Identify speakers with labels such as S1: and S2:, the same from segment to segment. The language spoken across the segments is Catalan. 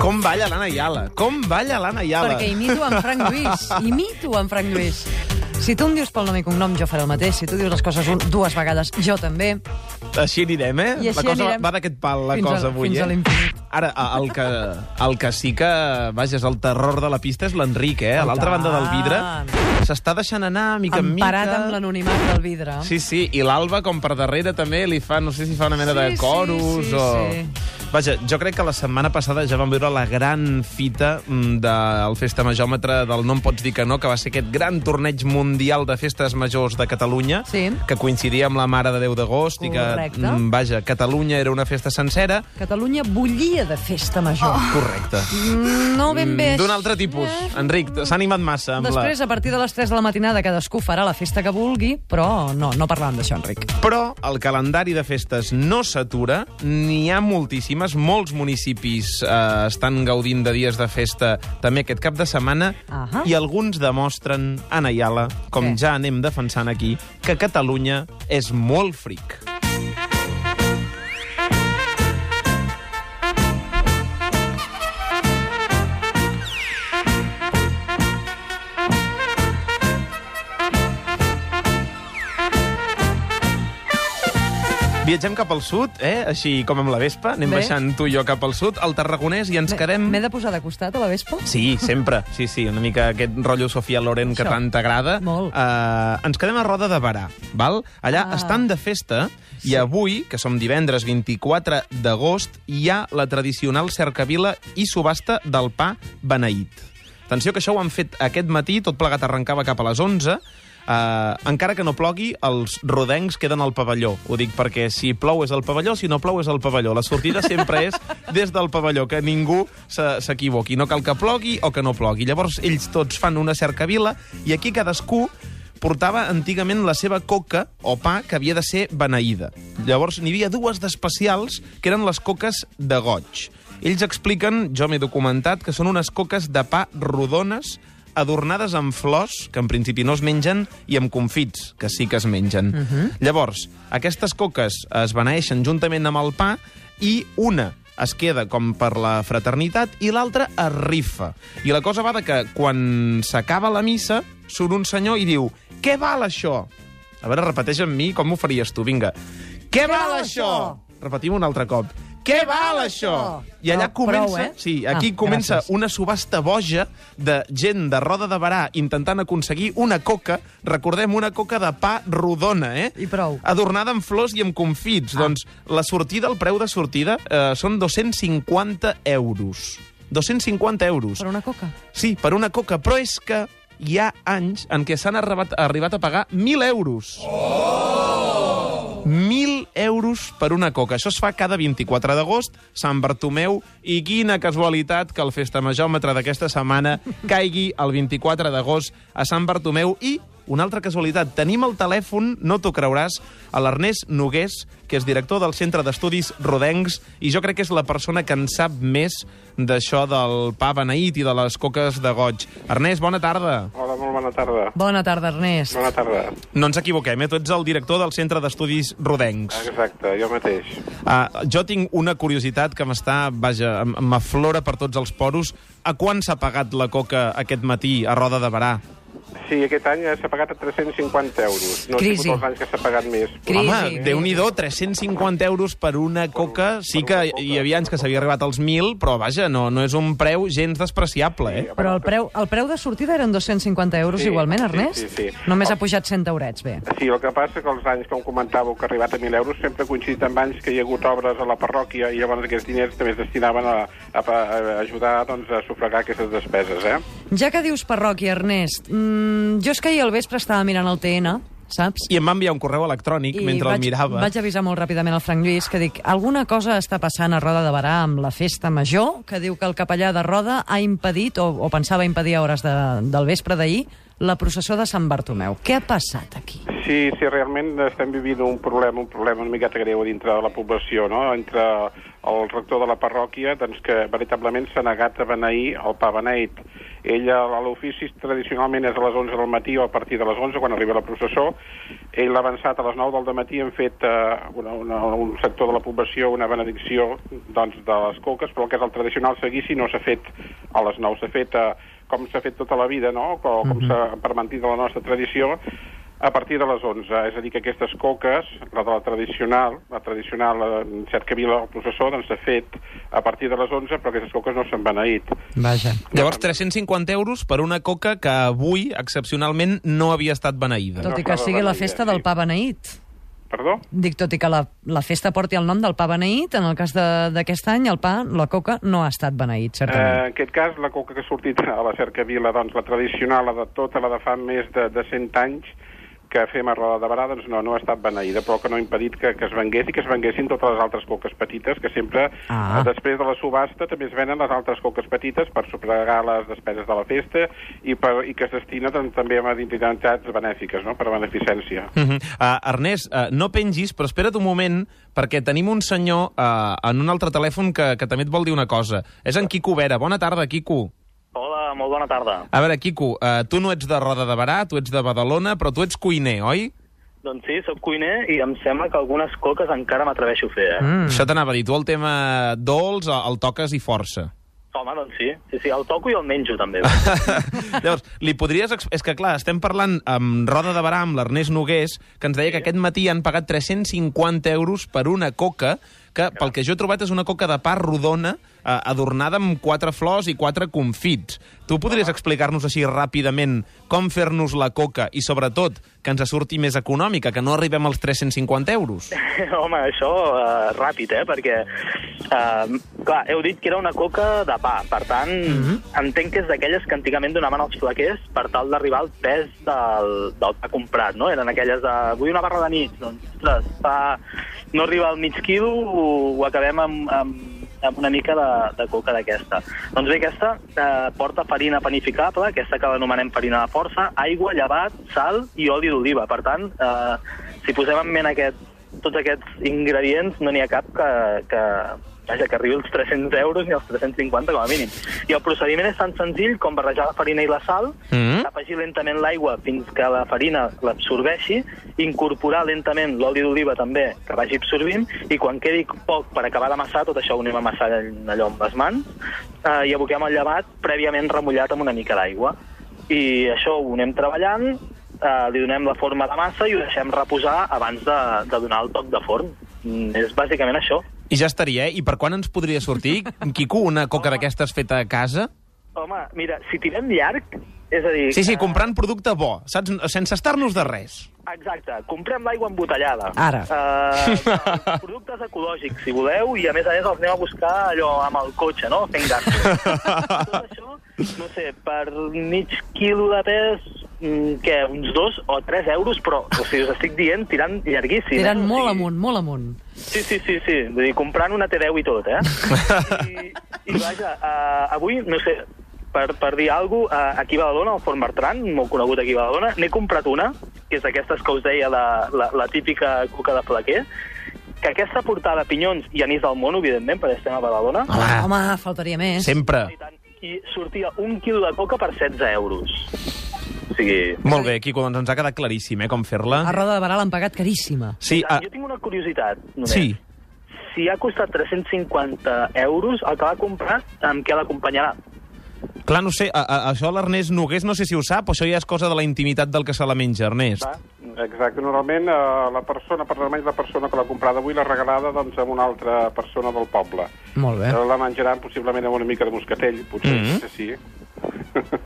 S1: Com balla l'Anna Iala? Com balla l'Anna Iala?
S2: Perquè imito en Frank Lluís. Imito en Frank Lluís. Si tu em dius pel nom i cognom, jo faré el mateix. Si tu dius les coses un, dues vegades, jo també.
S1: Així anirem, eh?
S2: I així
S1: la cosa
S2: anirem.
S1: va d'aquest pal, la
S2: Fins a-
S1: cosa, avui.
S2: fins a
S1: eh?
S2: l'infinit.
S1: Ara, a- el que, el que sí que, vaja, és el terror de la pista és l'Enric, eh? A l'altra
S2: tant.
S1: banda del vidre. S'està deixant anar, mica en mica.
S2: Emparat amb l'anonimat del vidre.
S1: Sí, sí, i l'Alba, com per darrere, també li fa, no sé si fa una mena
S2: Sí,
S1: de
S2: sí,
S1: coros
S2: sí,
S1: o...
S2: sí.
S1: Vaja, jo crec que la setmana passada ja vam veure la gran fita mm, del Festa Majòmetre del No em pots dir que no, que va ser aquest gran torneig mundial de festes majors de Catalunya,
S2: Sí.
S1: que coincidia amb la Mare de Déu d'agost i que,
S2: Correcte.
S1: mm, vaja, Catalunya era una festa sencera.
S2: Catalunya bullia de festa major.
S1: Correcte.
S2: Mm, No ben bé.
S1: Oh.
S2: Eh,
S1: Mm, D'un altre tipus. Enric, s'ha animat massa amb
S2: Després,
S1: la...
S2: a partir de les 3 de la matinada, cadascú farà la festa que vulgui, però no, no parlàvem d'això, Enric.
S1: Però el calendari de festes no s'atura, n'hi ha moltíssimes, molts municipis eh, estan gaudint de dies de festa també aquest cap de setmana,
S2: Ahà.
S1: i alguns demostren, Anna Iala, com
S2: Què?
S1: ja anem defensant aquí, que Catalunya és molt fric. Viatgem cap al sud, eh? així com amb la Vespa, anem
S2: Bé.
S1: baixant tu i jo cap al sud, al Tarragonès, i ens
S2: M'he-
S1: quedem...
S2: M'he de posar de costat a la Vespa?
S1: Sí, sempre. Sí, sí, una mica aquest rotllo Sofia Loren que
S2: Això.
S1: tant t'agrada.
S2: Molt.
S1: Eh, ens quedem a Roda de Barà, val? Allà
S2: Ah.
S1: estan de festa i avui, que som divendres 24 d'agost, hi ha la tradicional cercavila i subhasta del pa beneït. Atenció que això ho han fet aquest matí, tot plegat arrencava cap a les 11, Uh, encara que no plogui, els rodencs queden al pavelló. Ho dic perquè si plou és al pavelló, si no plou és al pavelló. La sortida sempre és des del pavelló, que ningú se- s'equivoqui. No cal que plogui o que no plogui. Llavors, ells tots fan una cercavila i aquí cadascú portava antigament la seva coca o pa que havia de ser beneïda. Llavors n'hi havia dues d'especials que eren les coques de goig. Ells expliquen, jo m'he documentat, que són unes coques de pa rodones adornades amb flors, que en principi no es mengen, i amb confits, que sí que es mengen. Uh -huh. Llavors, aquestes coques es beneeixen juntament amb el pa i una es queda com per la fraternitat i l'altra es rifa. I la cosa va de que quan s'acaba la missa surt un senyor i diu «Què val això?» A veure, repeteix amb mi com ho faries tu, vinga. «Què val
S2: val
S1: això?»
S2: això?
S1: Repetim un altre cop. «Què val això?» I allà
S2: Prou,
S1: comença...
S2: prou, eh?
S1: Sí, aquí
S2: Ah,
S1: comença
S2: gràcies.
S1: una subhasta boja de gent de Roda de Barà intentant aconseguir una coca, recordem, una coca de pa rodona, eh?
S2: I prou.
S1: Adornada amb flors i amb confits. Ah. Doncs la sortida, el preu de sortida, eh, són 250 euros. 250 euros.
S2: Per una coca.
S1: Sí, per una coca, però és que hi ha anys en què s'han arribat, arribat a pagar 1.000 euros. Oh! 1.000 euros per una coca. Això es fa cada 24 d'agost, Sant Bartomeu, i quina casualitat que el Festa Majòmetre d'aquesta setmana caigui el 24 d'agost a Sant Bartomeu i una altra casualitat. Tenim el telèfon, no t'ho creuràs, a l'Ernest Nogués, que és director del Centre d'Estudis Rodencs, i jo crec que és la persona que en sap més d'això del pa beneït i de les coques de goig. Ernest, bona tarda.
S3: Hola, molt bona tarda.
S2: Bona tarda, Ernest.
S3: Bona tarda.
S1: No ens equivoquem, eh? Tu ets el director del Centre d'Estudis Rodencs.
S3: Exacte, jo mateix.
S1: Uh, jo tinc una curiositat que m'està, vaja, em- m'aflora per tots els poros. A quan s'ha pagat la coca aquest matí a Roda de Barà?
S3: Sí, aquest any s'ha pagat a 350 euros. No
S2: Crisi.
S3: sé els anys que s'ha pagat més.
S2: Crisi.
S1: Home, Déu-n'hi-do, 350 euros per una coca. Sí que hi havia anys que s'havia arribat als 1.000, però vaja, no, no és un preu gens despreciable, eh?
S2: Però el preu, el preu de sortida eren 250 euros
S3: Sí,
S2: igualment,
S3: sí,
S2: Ernest?
S3: sí, sí.
S2: Només ha pujat 100 eurets, bé.
S3: Sí, el que passa que els anys, com comentàveu, que ha arribat a 1.000 euros, sempre ha coincidit amb anys que hi ha hagut obres a la parròquia i llavors aquests diners també es destinaven a, a, a ajudar doncs, a sufragar aquestes despeses, eh?
S2: Ja que dius parròquia, Ernest, mm, jo és que ahir al vespre estava mirant el TN, saps?
S1: I em va enviar un correu electrònic mentre
S2: vaig,
S1: el mirava.
S2: vaig avisar molt ràpidament al Frank Lluís que dic, alguna cosa està passant a Roda de Barà amb la festa major, que diu que el capellà de Roda ha impedit, o, o pensava impedir a hores de, del vespre d'ahir, la processó de Sant Bartomeu. Què ha passat aquí?
S3: Sí, sí, realment estem vivint un problema, un problema una miqueta greu dintre de la població, no? Entre el rector de la parròquia, doncs, que veritablement s'ha negat a beneir el pa beneït. Ell a a l'ofici tradicionalment és a les 11 del matí o a partir de les 11 quan arriba la processó. Ell l'ha avançat a les 9 del matí han fet eh, una, una, un sector de la població una benedicció doncs, de les coques, però el que és el tradicional seguici no s'ha fet a les 9, s'ha fet eh, com s'ha fet tota la vida, no? com, com s'ha per mantenir la nostra tradició, a partir de les 11. És a dir, que aquestes coques, la de la tradicional, la tradicional eh, cercavila o processó, doncs s'ha fet a partir de les 11, però aquestes coques no s'han beneït.
S2: Vaja.
S1: Llavors, 350 euros per una coca que avui, excepcionalment, no havia estat beneïda.
S2: Tot i
S3: fa
S2: que
S3: de
S2: sigui la
S3: beneïda,
S2: festa
S3: sí.
S2: del pa beneït.
S3: Perdó?
S2: Dic, tot i que la, la festa porti el nom del pa beneït, en el cas de- d'aquest any, el pa, la coca, no ha estat beneït, certament.
S3: Eh, en aquest cas, la coca que ha sortit a la cercavila, doncs la tradicional, la de tota, la de fa més de, de 100 anys, que fem a Roda de Barà, doncs no, no ha estat beneïda, però que no ha impedit que, que es vengués i que es venguessin totes les altres coques petites, que sempre,
S2: Ah.
S3: ah. després de la subhasta, també es venen les altres coques petites per sufragar les despeses de la festa i, per, i que es destina doncs, també a entitats benèfiques, no?, per beneficència.
S1: Uh -huh. uh, Ernest, uh, no pengis, però espera't un moment, perquè tenim un senyor uh, en un altre telèfon que, que també et vol dir una cosa. És en Quico Vera. Bona tarda, Quico.
S4: Hola, molt bona tarda.
S1: A veure, Quico, uh, tu no ets de Roda de Barà, tu ets de Badalona, però tu ets cuiner, oi?
S4: Doncs sí, sóc cuiner i em sembla que algunes coques encara m'atreveixo a fer, eh?
S1: Mm. Això t'anava a dir. Tu el tema dolç el- el toques i força.
S4: Home, doncs sí. Sí, sí, el toco i el menjo, també.
S1: Llavors, li podries... ex- És que, clar, estem parlant amb Roda de Barà, amb l'Ernest Nogués, que ens deia que aquest matí han pagat 350 euros per una coca, que, pel que jo he trobat, és una coca de pa rodona, eh, adornada amb quatre flors i quatre confits. Tu podries explicar-nos així ràpidament com fer-nos la coca i, sobretot, que ens surti més econòmica, que no arribem als 350 euros?
S4: Home, això eh, ràpid, eh? Perquè, eh, clar, heu dit que era una coca de pa. Per tant, mm -hmm. entenc que és d'aquelles que antigament donaven els flaquers per tal d'arribar al pes del, del pa comprat, no? Eren aquelles de... Vull una barra de nit, doncs, ostres, fa... no arriba al mig quilo, ho, ho acabem amb, amb amb una mica de, de coca d'aquesta. Doncs bé, aquesta eh, porta farina panificable, aquesta que l'anomenem farina de força, aigua, llevat, sal i oli d'oliva. Per tant, eh, si posem en ment aquest, tots aquests ingredients, no n'hi ha cap que, que, vaja, que arribi als 300 euros ni als 350 com a mínim. I el procediment és tan senzill com barrejar la farina i la sal,
S1: Mhm.
S4: mm afegir lentament l'aigua fins que la farina l'absorbeixi, incorporar lentament l'oli d'oliva també, que vagi absorbint, i quan quedi poc per acabar d'amassar, tot això ho anem amassant allò amb les mans, eh, i aboquem el llevat prèviament remullat amb una mica d'aigua. I això ho anem treballant, eh, li donem la forma de massa i ho deixem reposar abans de, de donar el toc de forn. Mm, és bàsicament això.
S1: I ja estaria, eh? I per quan ens podria sortir, Quico, una coca d'aquestes feta a casa?
S4: Home, mira, si tirem llarg, és a dir...
S1: Sí, sí,
S4: eh,
S1: comprant producte bo, saps? Sense estar-nos de res.
S4: Exacte, comprem l'aigua embotellada.
S2: Ara.
S4: Uh, productes ecològics, si voleu, i a més a més els anem a buscar allò amb el cotxe, no? Fent gas. Tot això, no sé, per mig quilo de pes, mm, què, uns dos o tres euros, però, o sigui, us estic dient, tirant llarguíssim. eh?
S2: Eren
S4: O
S2: molt
S4: sigui,
S2: amunt, molt amunt.
S4: Sí, sí, sí, sí. Vull dir, comprant una T10 i tot, eh? I, i vaja, uh, avui, no sé, per, per dir alguna cosa, uh, aquí a Badalona, al Fort Bertran, molt conegut aquí a Badalona, n'he comprat una, que és d'aquestes que us deia, la, la, la típica coca de flaquer, que aquesta portava pinyons i anís del món, evidentment, perquè estem a Badalona,
S1: Home.
S2: Home, faltaria més.
S1: Sempre.
S4: i, tant, i sortia un quilo de coca per 16 euros. O sigui...
S1: Molt bé, Quico, doncs ens ha quedat claríssim, eh, com
S2: A
S1: fer-la.
S2: Roda de Barà l'han pagat caríssima.
S1: Sí, a...
S4: Jo tinc una curiositat, només.
S1: sí.
S4: si ha costat 350 euros, el que va comprar, amb què l'acompanyarà?
S1: Clar, no sé, a, a, això l'Ernest Nogués no sé si ho sap, o això ja és cosa de la intimitat del que se la menja, Ernest.
S4: Va.
S3: Exacte, normalment eh, la persona, per normalment la persona que l'ha comprada avui l'ha regalada doncs, a una altra persona del poble.
S2: Molt bé.
S3: Eh? La menjaran possiblement amb una mica de moscatell, potser, mm
S1: Mhm.
S3: -hmm. sí.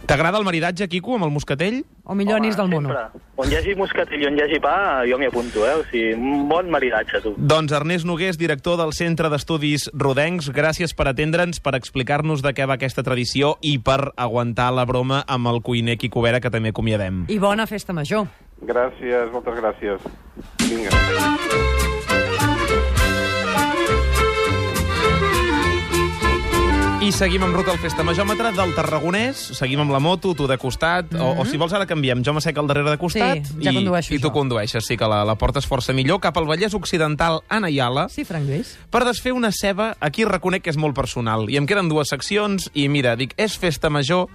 S1: T'agrada el maridatge, Quico, amb el moscatell?
S2: O millor anís del mono.
S4: Sempre. On hi hagi moscatell i on hi hagi pa, jo m'hi apunto, eh? O sigui, un bon maridatge, tu.
S1: Doncs Ernest Nogués, director del Centre d'Estudis Rodencs, gràcies per atendre'ns, per explicar-nos de què va aquesta tradició i per aguantar la broma amb el cuiner Quico Vera, que també acomiadem.
S2: I bona festa major.
S3: Gràcies, moltes gràcies. Vinga.
S1: I seguim amb ruta al Festa Majòmetre del Tarragonès, seguim amb la moto, tu de costat, mm -hmm. o, o si vols ara canviem, jo m'assec al darrere de costat
S2: Mhm. Sí, ja
S1: i,
S2: condueixo
S1: i tu
S2: jo.
S1: condueixes, sí que la, la portes força millor, cap al Vallès Occidental, a Naiala,
S2: Sí, Frank Lluís?
S1: per desfer una ceba, aquí reconec que és molt personal, i em queden dues seccions, i mira, dic, és Festa Major,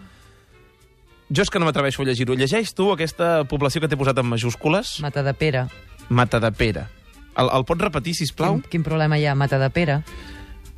S1: Jo és que no m'atreveixo a llegir-ho. Llegeix tu aquesta població que t'he posat en majúscules?
S2: Mata de Pere.
S1: Mata de Pere. El, el pots repetir, si plau?
S2: Quin, quin problema hi ha, Mata de Pere?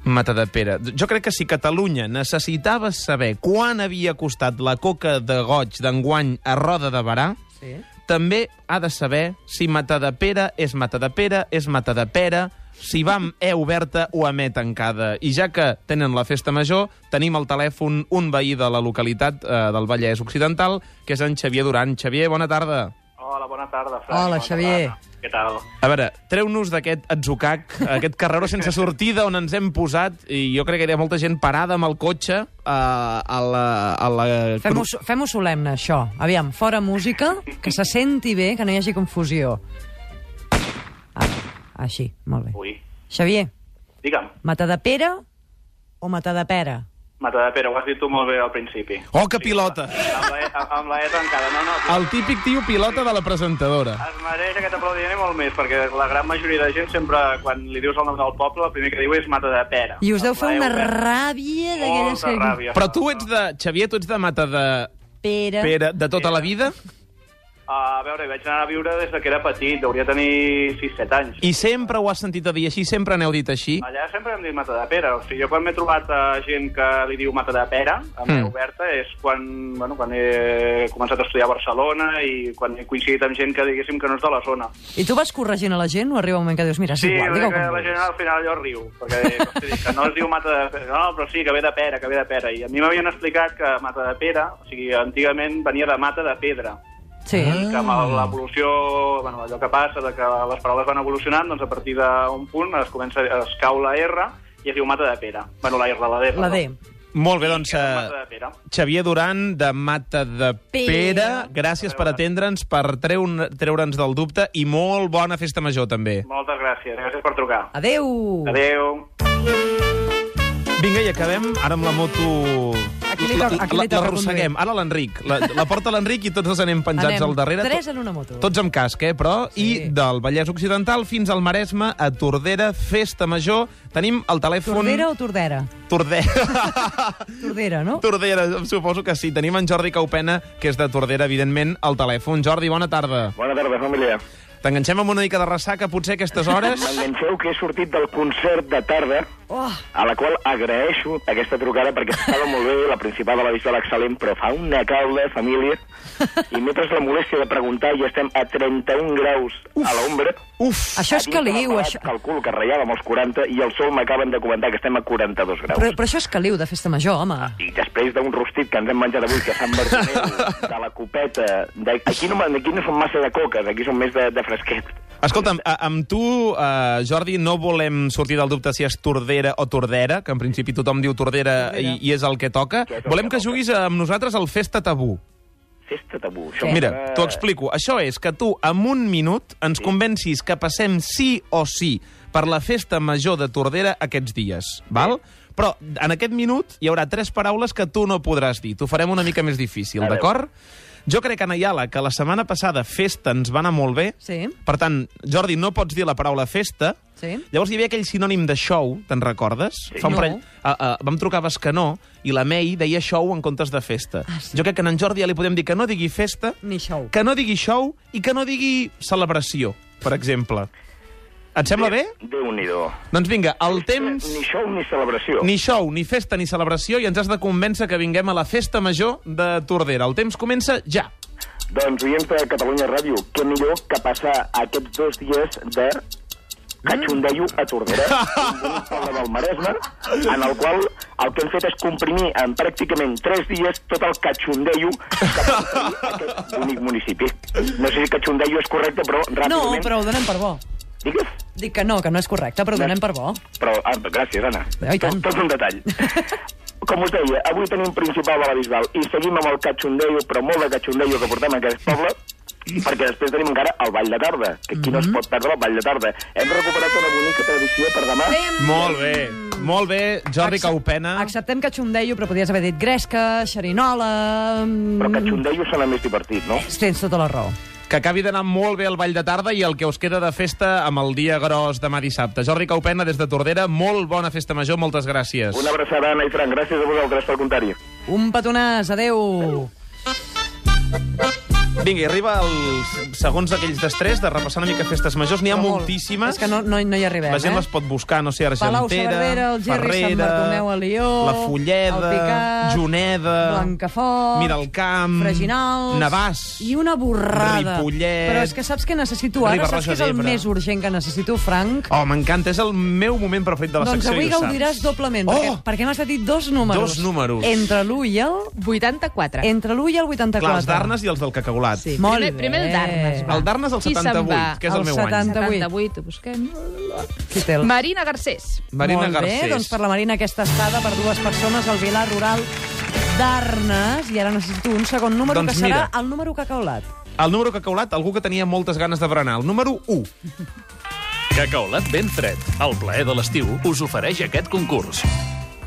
S1: Mata de Pere. Jo crec que si Catalunya necessitava saber quan havia costat la coca de goig d'enguany a Roda de Barà,
S2: Sí.
S1: també ha de saber si Mata de Pere és Mata de Pere, és Mata de Pere, si va amb E oberta o amb E tancada. I ja que tenen la festa major, tenim al telèfon un veí de la localitat eh, del Vallès Occidental, que és en Xavier Duran. Xavier, bona tarda.
S4: Hola, bona tarda,
S2: Fran. Hola, Bona Xavier. tarda.
S4: Què tal?
S1: A veure, treu-nos d'aquest atzucac, aquest carreró sense sortida on ens hem posat, i jo crec que hi ha molta gent parada amb el cotxe eh, a la... A la...
S2: Fem-ho fem solemne, això. Aviam, fora música, que se senti bé, que no hi hagi confusió. Ah, així, molt bé.
S4: Ui,
S2: Xavier,
S4: digue'm,
S2: Mata de Pere o Mata de Pere?
S4: Mata de Pere, ho has dit tu molt bé al principi.
S1: Oh, que pilota!
S4: Amb la E, amb la e tancada, no, no.
S1: El típic tio pilota de la presentadora.
S4: Es mereix aquest aplaudiment i molt més, perquè la gran majoria de gent sempre, quan li dius el nom del poble, el primer que diu és Mata de Pera.
S2: I us deu fer una
S4: ràbia
S2: ràbia d'aquelles
S4: E Molta ràbia.
S1: Però tu ets de... Xavier, tu ets de mata de...
S2: Pere.
S1: Pere, de tota la vida?
S4: a veure, hi vaig anar a viure des de que era petit, hauria de tenir 6-7 anys.
S1: I sempre ho has sentit a dir així, sempre n'heu dit així.
S4: Allà sempre hem dit Mata de Pera. O sigui, jo quan m'he trobat a gent que li diu Mata de Pera, a mm.
S1: Mm.
S4: oberta, és quan, bueno, quan he començat a estudiar a Barcelona i quan he coincidit amb gent que diguéssim que no és de la zona.
S2: I tu vas corregint a la gent o arriba un moment que dius, mira, és
S4: Sí,
S2: igual, digue-ho
S4: perquè
S2: com
S4: la
S2: vulguis.
S4: gent al final allò riu, perquè hosti, que no es diu mata de pera, no, però sí, que ve de pera, que ve de pera. I a mi m'havien explicat que mata de pera, o sigui, antigament venia de mata de pedra,
S2: Sí.
S1: Ah.
S4: i que
S2: Ah.
S4: amb l'evolució, bueno, allò que passa, de que les paraules van evolucionant, doncs a partir d'un punt es, comença, es cau la R i es diu mata de pera. Bueno, la R, la D.
S2: La D.
S4: perdó.
S1: Molt bé, doncs...
S4: Que és Mata
S1: Eh...
S4: de pera.
S1: Xavier Duran, de Mata de
S2: Pere.
S1: Pere. Gràcies per atendre'ns, per treu- treure'ns del dubte i molt bona festa major, també.
S4: Moltes gràcies, gràcies per trucar.
S2: Adeu.
S4: Adéu.
S1: Vinga, i acabem ara amb la moto...
S2: Aquí li toca-
S1: La-
S2: aquí li
S1: la-
S2: toca
S1: L'arrosseguem. Ara l'Enric. La, la porta l'Enric i tots dos anem penjats
S2: Anem
S1: al darrere.
S2: Tres en una moto.
S1: Tots amb casc, eh, però?
S2: Sí.
S1: Sí. I del Vallès Occidental fins al Maresme, a Tordera, Festa Major. Tenim el telèfon...
S2: Tordera o Tordera?
S1: Tordera.
S2: Tordera, no?
S1: Tordera, em suposo que sí. Tenim en Jordi Caupena, que és de Tordera, evidentment, al telèfon. Jordi, bona tarda.
S5: Bona tarda, família.
S1: T'enganxem amb una mica de ressaca, potser, a aquestes hores?
S5: M'enganxeu que he sortit del concert de tarda,
S2: Oh,
S5: a la qual agraeixo aquesta trucada perquè estava molt bé, la principal de la vista l'excel·lent, però fa una calda, família, i mentre la molèstia de preguntar ja estem a 31 graus a l'ombra.
S1: Uf!
S2: això és caliu, això...
S5: Calculo que ratllàvem els 40 i el sol m'acaben de comentar que estem a 42 graus.
S2: Però, però això és caliu de festa major, home.
S5: I després d'un rostit que ens hem menjat avui, que Sant Bartomeu, de la copeta... De... Aquí, no, aquí no són massa de coques, aquí són més de, de fresquet.
S1: Escolta'm, a, amb tu, eh, Jordi, no volem sortir del dubte si és Tordera o Tordera, que en principi tothom diu Tordera i, i és el que toca.
S5: Que és el
S1: Volem
S5: que
S1: que
S5: toca.
S1: juguis amb nosaltres al Festa Tabú.
S5: Festa tabú.
S2: Què?
S5: Això
S1: Mira,
S5: m'agrada-
S1: t'ho explico. Això és que tu, en un minut, ens convencis que passem sí o sí per la festa major de Tordera aquests dies, val? Però en aquest minut hi haurà tres paraules que tu no podràs dir. T'ho farem una mica més difícil,
S5: A veure.
S1: d'acord? Jo crec, Ana Iala, que la setmana passada festa ens va anar molt bé.
S2: Sí,
S1: Per tant, Jordi, no pots dir la paraula festa.
S2: sí.
S1: Llavors hi havia aquell sinònim de show, te'n recordes? Sí.
S2: No.
S1: a, a, Ah, vam trucar a Bescanó i la May deia show en comptes de festa.
S2: Ah, sí.
S1: Jo crec que a en Jordi ja li podem dir que no digui festa,
S2: Ni xou.
S1: que no digui show i que no digui celebració, per exemple. Et sembla bé?
S5: Déu-n'hi-do.
S1: Doncs vinga, el temps...
S5: Ni show ni celebració.
S1: Ni show, ni festa, ni celebració i ens has de convèncer que vinguem a la festa major de Tordera. El temps comença ja.
S5: Doncs, oients de Catalunya Ràdio, què millor que passar aquests dos dies de catxondeio a Tordera, un bonic poble del Maresme, en el qual el que hem fet és comprimir en pràcticament tres dies tot el catxondeio que pot tenir aquest bonic municipi. No sé si catxondeio és correcte, però
S2: No,
S5: ràpidament...
S2: però ho donem per bo.
S5: Digues?
S2: Dic que no, que no és correcte, però ho donem per bo.
S5: Però, ah, gràcies, Anna.
S2: Ah, i tant.
S5: Tot, tot un detall. Com us deia, avui tenim principal a la Bisbal i seguim amb el catxondeio, però molt de catxondeio que portem en aquest poble, perquè després tenim encara el Ball de Tarda, que aquí no es pot perdre el Ball de Tarda. Hem recuperat una bonica tradició per demà.
S1: Molt bé, molt bé, Jordi
S2: Accep-
S1: Caupena.
S2: Acceptem que xundeio, però podies haver dit gresca, xerinola... mm,
S5: Però catxondeio sona més divertit, no?
S2: Tens tota la raó.
S1: Que acabi d'anar molt bé el Vall de Tarda i el que us queda de festa amb el dia gros demà dissabte. Jordi Caupena, des de Tordera, molt bona festa major, moltes gràcies.
S5: Una abraçada, Anna i Fran. Gràcies a vosaltres per comptar-hi.
S2: Un petonàs, adeu.
S1: Vinga, i arriba els segons d'aquells d'estrès de repassar una mica festes majors. N'hi ha
S2: Molt.
S1: moltíssimes.
S2: És que no, no, no hi arribem,
S1: La gent
S2: eh?
S1: les pot buscar, no sé, Argentera,
S2: Palau Saverdera, el Gerri, Sant
S1: Ferrera,
S2: Bartomeu a Alió,
S1: La Fulleda,
S2: el Picat,
S1: Juneda,
S2: Blancafort,
S1: Miralcamp,
S2: Freginals...
S1: Navàs,
S2: I una borrada.
S1: Ripollet,
S2: Però és que saps què necessito ara?
S1: Riba-roja
S2: saps què és el
S1: d'Ebre.
S2: més urgent que necessito, Frank?
S1: Oh, m'encanta, és el meu moment preferit de la
S2: doncs
S1: secció.
S2: avui
S1: i ho saps.
S2: gaudiràs doblement,
S1: Oh!
S2: perquè, perquè m'has dit dos números.
S1: Dos números.
S2: Entre l'1 i el...
S6: 84.
S2: Entre l'1 i el 84.
S1: Clar, els d'Arnes i els del cacaolat.
S6: Sí.
S2: Molt
S6: primer, primer el
S2: bé.
S6: Darnes. va.
S1: El d'Arnes el
S6: Qui se'n
S1: 78,
S6: va?
S1: que és el,
S2: El
S1: meu
S2: 70.
S1: any.
S6: 78, ho busquem.
S2: Qui té el...
S6: Marina Garcés.
S1: Marina
S2: Molt
S1: Garcés.
S2: bé, doncs per la Marina aquesta estada per dues persones al Vilar Rural d'Arnes. I ara necessito un segon número,
S1: Doncs
S2: que serà
S1: mira.
S2: el número que ha caulat.
S1: El número cacaulat, algú que tenia moltes ganes de berenar. El número 1.
S7: Cacaolat ben fred. El plaer de l'estiu us ofereix aquest concurs.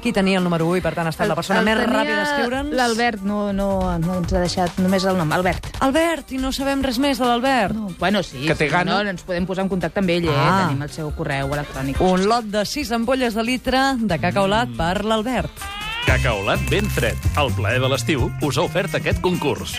S2: Qui tenia el número 1 i, per tant, ha estat la persona
S6: El
S2: més
S6: tenia
S2: ràpida a escriure'ns?
S6: L'Albert no, no, no ens ha deixat només el nom. Albert.
S2: Albert, i no sabem res més de l'Albert.
S6: No, bueno, sí,
S1: Que té
S6: sí,
S1: gana.
S6: no, ens podem posar en contacte amb ell, eh?
S2: Ah.
S6: Tenim el seu correu electrònic.
S2: Un lot de 6 ampolles de litre de cacaulat per l'Albert.
S7: Cacaolat ben fred. El plaer de l'estiu us ha ofert aquest concurs.